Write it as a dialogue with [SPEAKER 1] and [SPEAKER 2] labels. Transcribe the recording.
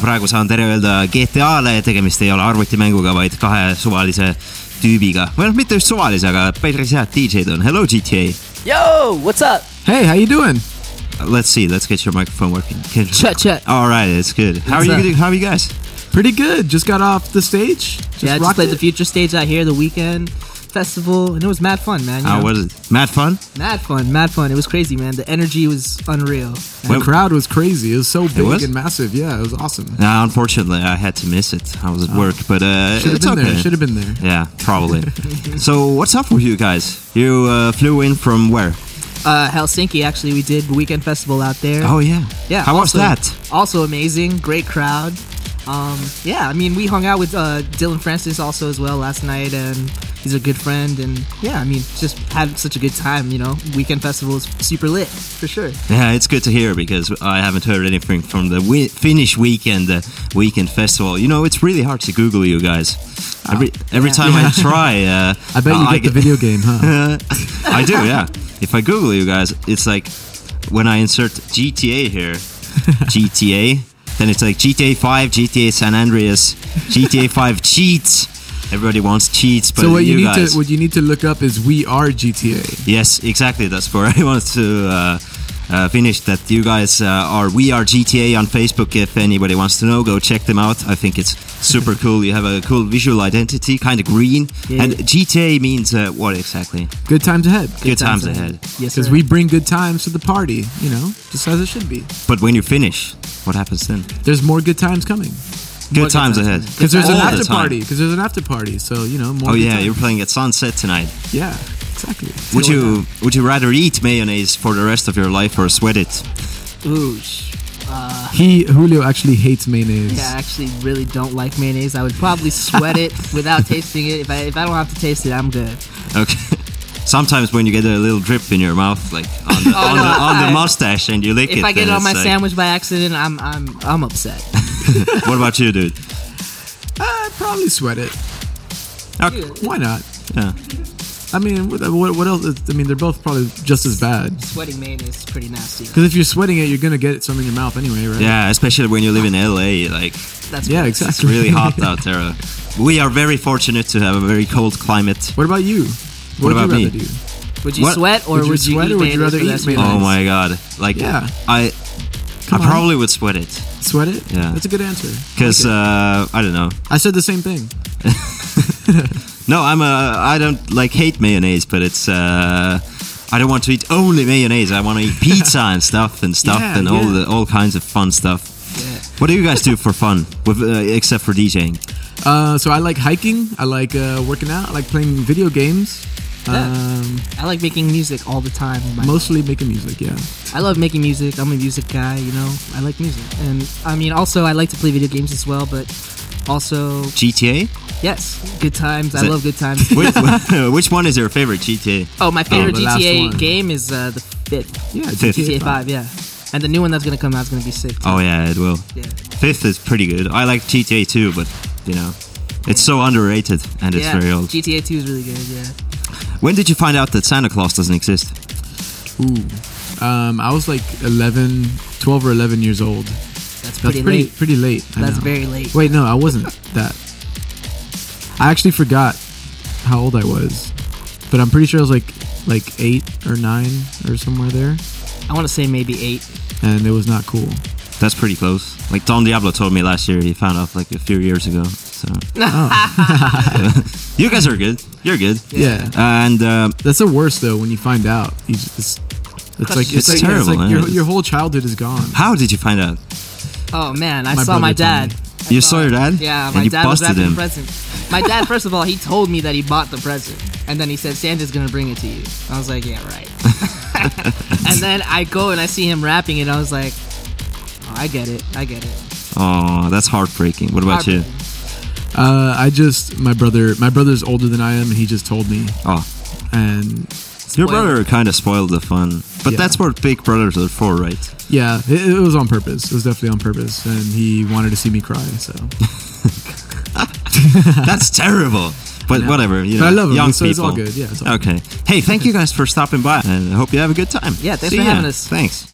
[SPEAKER 1] praegu saan tere öelda GTA-le, tegemist ei ole arvutimänguga, vaid kahe suvalise tüübiga. või noh, mitte just suvalise, aga päris head DJ-d on. Hello GTA.
[SPEAKER 2] Yo, what's up?
[SPEAKER 3] Hey, how you doing?
[SPEAKER 1] Let's see, let's get your microphone working. Can-
[SPEAKER 2] Chat, chat.
[SPEAKER 1] All right, it's good. How are
[SPEAKER 2] What's
[SPEAKER 1] you?
[SPEAKER 2] up?
[SPEAKER 1] Doing? How are you guys?
[SPEAKER 3] Pretty good. Just got off the stage. Just
[SPEAKER 2] yeah, I just
[SPEAKER 3] rocked
[SPEAKER 2] played
[SPEAKER 3] it.
[SPEAKER 2] the Future Stage out here the weekend festival, and it was mad fun, man. you
[SPEAKER 1] How
[SPEAKER 2] know?
[SPEAKER 1] was it? Mad fun?
[SPEAKER 2] mad fun, mad fun. It was crazy, man. The energy was unreal.
[SPEAKER 3] The
[SPEAKER 1] Well-
[SPEAKER 3] crowd was crazy. It was so big
[SPEAKER 1] was?
[SPEAKER 3] and massive. Yeah, it was awesome.
[SPEAKER 1] Uh, unfortunately, I had to miss it. I was at work, but uh,
[SPEAKER 3] Should have
[SPEAKER 1] it's
[SPEAKER 3] Oh. been
[SPEAKER 1] okay.
[SPEAKER 3] there. Should have been there.
[SPEAKER 1] Yeah, probably. so what's up with you guys? You uh, flew in from where?
[SPEAKER 2] Uh, Helsinki, actually, we did weekend festival out there.
[SPEAKER 1] Oh yeah.
[SPEAKER 2] yeah.
[SPEAKER 1] How was
[SPEAKER 2] also-
[SPEAKER 1] that?
[SPEAKER 2] Also amazing, great crowd. Um, yeah, I mean, we hung out with uh, Dylan Francis also as well last night, and he's a good friend. And yeah, I mean, just had such a good time. You know, weekend festival is super lit for sure.
[SPEAKER 1] Yeah, it's good to hear because I haven't heard anything from the we- Finnish weekend uh, weekend festival. You know, it's really hard to Google you guys. Every every
[SPEAKER 2] yeah.
[SPEAKER 1] time I try, uh,
[SPEAKER 3] Ah, I bet you
[SPEAKER 1] I
[SPEAKER 3] get the video game, huh?
[SPEAKER 1] I do, yeah. If I Google you guys, it's like when I insert GTA here, GTA, then it's like GTA 5, GTA San Andreas, GTA 5 cheats. Everybody wants cheats, but
[SPEAKER 3] so what you,
[SPEAKER 1] you,
[SPEAKER 3] need
[SPEAKER 1] guys,
[SPEAKER 3] to what you need to look up is we are GTA.
[SPEAKER 1] yes, exactly. That's where I want to uh, uh, finish. That you guys uh, are we are GTA on Facebook. If anybody wants to know, go check them out. I think it's super cool. You have a cool visual identity, kind of green,
[SPEAKER 2] Yeah.
[SPEAKER 1] and GTA means uh, what exactly?
[SPEAKER 3] Good times ahead.
[SPEAKER 1] Good, times, ahead.
[SPEAKER 2] Yes,
[SPEAKER 3] Because
[SPEAKER 2] sir.
[SPEAKER 3] we bring good times to the party, you know, just as it should be.
[SPEAKER 1] But when you finish, what happens then?
[SPEAKER 3] There's more good times coming.
[SPEAKER 1] Good
[SPEAKER 2] More good
[SPEAKER 1] times
[SPEAKER 2] times.
[SPEAKER 1] ahead.
[SPEAKER 3] Because there's an
[SPEAKER 1] All the
[SPEAKER 3] after
[SPEAKER 1] time.
[SPEAKER 3] party. Because there's an after party. So you know more.
[SPEAKER 1] Oh
[SPEAKER 3] good
[SPEAKER 1] yeah,
[SPEAKER 3] times.
[SPEAKER 1] you're playing at sunset tonight.
[SPEAKER 3] yeah, exactly.
[SPEAKER 1] Would
[SPEAKER 3] Something like
[SPEAKER 1] you would you rather eat mayonnaise for the rest of your life or sweat it?
[SPEAKER 2] Ooh, sh-
[SPEAKER 3] that. He Julio actually hates mayonnaise.
[SPEAKER 2] yeah, I actually really don't like mayonnaise. I would probably sweat it without tasting it. If I if I don't have to taste it, I'm good.
[SPEAKER 1] Okay. Sometimes when you get a little drip in your mouth, like on the, on, the, on the
[SPEAKER 2] I-
[SPEAKER 1] mustache, and you lick it.
[SPEAKER 2] Oh, If I get it
[SPEAKER 1] then
[SPEAKER 2] on my
[SPEAKER 1] it's like-
[SPEAKER 2] sandwich by accident, I'm I'm I'm upset.
[SPEAKER 1] What about you, dude?
[SPEAKER 3] Uh, I'd probably sweat it.
[SPEAKER 1] Okay.
[SPEAKER 3] Why not?
[SPEAKER 1] Yeah.
[SPEAKER 3] I mean, what, what, what else? I mean, they're both probably just as bad.
[SPEAKER 2] Sweating mayonnaise is pretty nasty.
[SPEAKER 3] Because if you're sweating it, you're gonna get some in your mouth anyway, right?
[SPEAKER 1] Yeah, especially when you live in LA, like
[SPEAKER 2] That's
[SPEAKER 3] Yeah,
[SPEAKER 2] gross.
[SPEAKER 3] exactly.
[SPEAKER 1] it's really hot out there. We are very fortunate to have a very cold climate.
[SPEAKER 3] What about you?
[SPEAKER 1] What
[SPEAKER 3] would you
[SPEAKER 1] about
[SPEAKER 3] rather
[SPEAKER 1] me?
[SPEAKER 3] do?
[SPEAKER 2] Would you
[SPEAKER 1] What-
[SPEAKER 2] sweat or
[SPEAKER 3] would
[SPEAKER 2] would
[SPEAKER 3] you
[SPEAKER 2] you,
[SPEAKER 3] sweat
[SPEAKER 2] eat
[SPEAKER 3] or would
[SPEAKER 2] mayonnaise
[SPEAKER 3] you rather
[SPEAKER 2] for the
[SPEAKER 3] eat
[SPEAKER 2] rest of your
[SPEAKER 3] mayonnaise?
[SPEAKER 1] Oh
[SPEAKER 2] life?
[SPEAKER 1] my god! Like
[SPEAKER 3] Yeah.
[SPEAKER 1] I, I
[SPEAKER 3] Come on.
[SPEAKER 1] probably would sweat it
[SPEAKER 3] Sweat it?
[SPEAKER 1] Yeah.
[SPEAKER 3] That's a good answer.
[SPEAKER 1] because
[SPEAKER 3] I like
[SPEAKER 1] uh, I don't know.
[SPEAKER 3] it. I said the same thing.
[SPEAKER 1] No, I'm a. I don't like hate mayonnaise, but it's. Uh, I don't want to eat only mayonnaise. I want to eat pizza and stuff and stuff
[SPEAKER 3] Yeah,
[SPEAKER 1] and all
[SPEAKER 3] yeah.
[SPEAKER 1] the all kinds of fun stuff. What do you guys do for fun, with, uh, except for DJing?
[SPEAKER 3] Uh, so I like hiking. I like uh, working out. I like playing video games.
[SPEAKER 2] Yeah.
[SPEAKER 3] Um,
[SPEAKER 2] I like making music all the time. in my
[SPEAKER 3] mostly making music. Yeah.
[SPEAKER 2] life. I love making music. I'm a music guy, you know. I like music. And I mean also I like to play video games as well, but also
[SPEAKER 1] GTA?
[SPEAKER 2] yes, good times. I
[SPEAKER 1] it-
[SPEAKER 2] love good times.
[SPEAKER 1] Which, which one is your favorite GTA?
[SPEAKER 2] oh, my favorite
[SPEAKER 3] the last one.
[SPEAKER 2] GTA game is uh, the fifth.
[SPEAKER 3] Yeah.
[SPEAKER 1] Fifth.
[SPEAKER 2] GTA 5, yeah. And the new one that's going to come out is going to be sick. too.
[SPEAKER 1] Oh yeah, it will.
[SPEAKER 2] Yeah.
[SPEAKER 1] Fifth is pretty good. I like GTA too, but you know, it's so underrated and it's
[SPEAKER 2] yeah.
[SPEAKER 1] very old.
[SPEAKER 2] GTA 2 is really good, yeah.
[SPEAKER 1] When did you find out that Santa Claus doesn't exist?
[SPEAKER 3] Ooh. Um, I was like 11, 12 or 11 years old. That's
[SPEAKER 2] That's pretty,
[SPEAKER 3] pretty pretty
[SPEAKER 2] late.
[SPEAKER 3] late. I
[SPEAKER 2] That's
[SPEAKER 3] know.
[SPEAKER 2] very late.
[SPEAKER 3] Wait, no, I wasn't that. I actually forgot how old I was, but I'm pretty sure I was like like eight or nine or somewhere there,
[SPEAKER 2] I want to say maybe 8.
[SPEAKER 3] and it was not cool.
[SPEAKER 1] That's pretty close. Like Don Diablo told me last year, he found out like a few years ago. So you guys are good. You're good.
[SPEAKER 3] Yeah,
[SPEAKER 1] And um,
[SPEAKER 3] that's the worst though when you find out. You just, it's, it's like
[SPEAKER 1] It's
[SPEAKER 3] it's, like,
[SPEAKER 1] terrible,
[SPEAKER 3] It's like your,
[SPEAKER 1] yeah.
[SPEAKER 3] your whole childhood is gone.
[SPEAKER 1] how did you find out?
[SPEAKER 2] Oh man, I
[SPEAKER 3] My
[SPEAKER 2] saw my
[SPEAKER 3] brother told
[SPEAKER 2] dad. I
[SPEAKER 1] You saw your dad?
[SPEAKER 2] Yeah,
[SPEAKER 1] And
[SPEAKER 2] my
[SPEAKER 1] you
[SPEAKER 2] dad was
[SPEAKER 1] busted
[SPEAKER 2] wrapping
[SPEAKER 1] him.
[SPEAKER 2] the present. My dad, first of all, he told me that he bought the present, and then he said Santa's gonna bring it to you. I was like, yeah, right. and then I go and I see him wrapping it. I was like, oh, I get it, I get it.
[SPEAKER 1] Oh, that's heartbreaking. What about you?
[SPEAKER 2] Heartbreaking.
[SPEAKER 3] Uh, I just my brother my brother's older than I am, and he just told me,
[SPEAKER 1] Oh,
[SPEAKER 3] and
[SPEAKER 1] your
[SPEAKER 2] Spoiled.
[SPEAKER 1] brother kind of spoiled the fun. But
[SPEAKER 3] Yeah.
[SPEAKER 1] that's what big brothers are for, right?
[SPEAKER 3] yeah, it, it was on purpose. It was definitely on purpose, and he wanted to see me cry. So,
[SPEAKER 1] That's terrible. But
[SPEAKER 3] know.
[SPEAKER 1] whatever, you know,
[SPEAKER 3] But I love him,
[SPEAKER 1] young
[SPEAKER 3] so
[SPEAKER 1] people.
[SPEAKER 3] it's all good. Yeah, it's all
[SPEAKER 1] okay. Hey, thank you guys for stopping by, and I hope you have a good time.
[SPEAKER 2] Yeah, thanks
[SPEAKER 1] See
[SPEAKER 2] for
[SPEAKER 1] ya.
[SPEAKER 2] having us.
[SPEAKER 1] Thanks.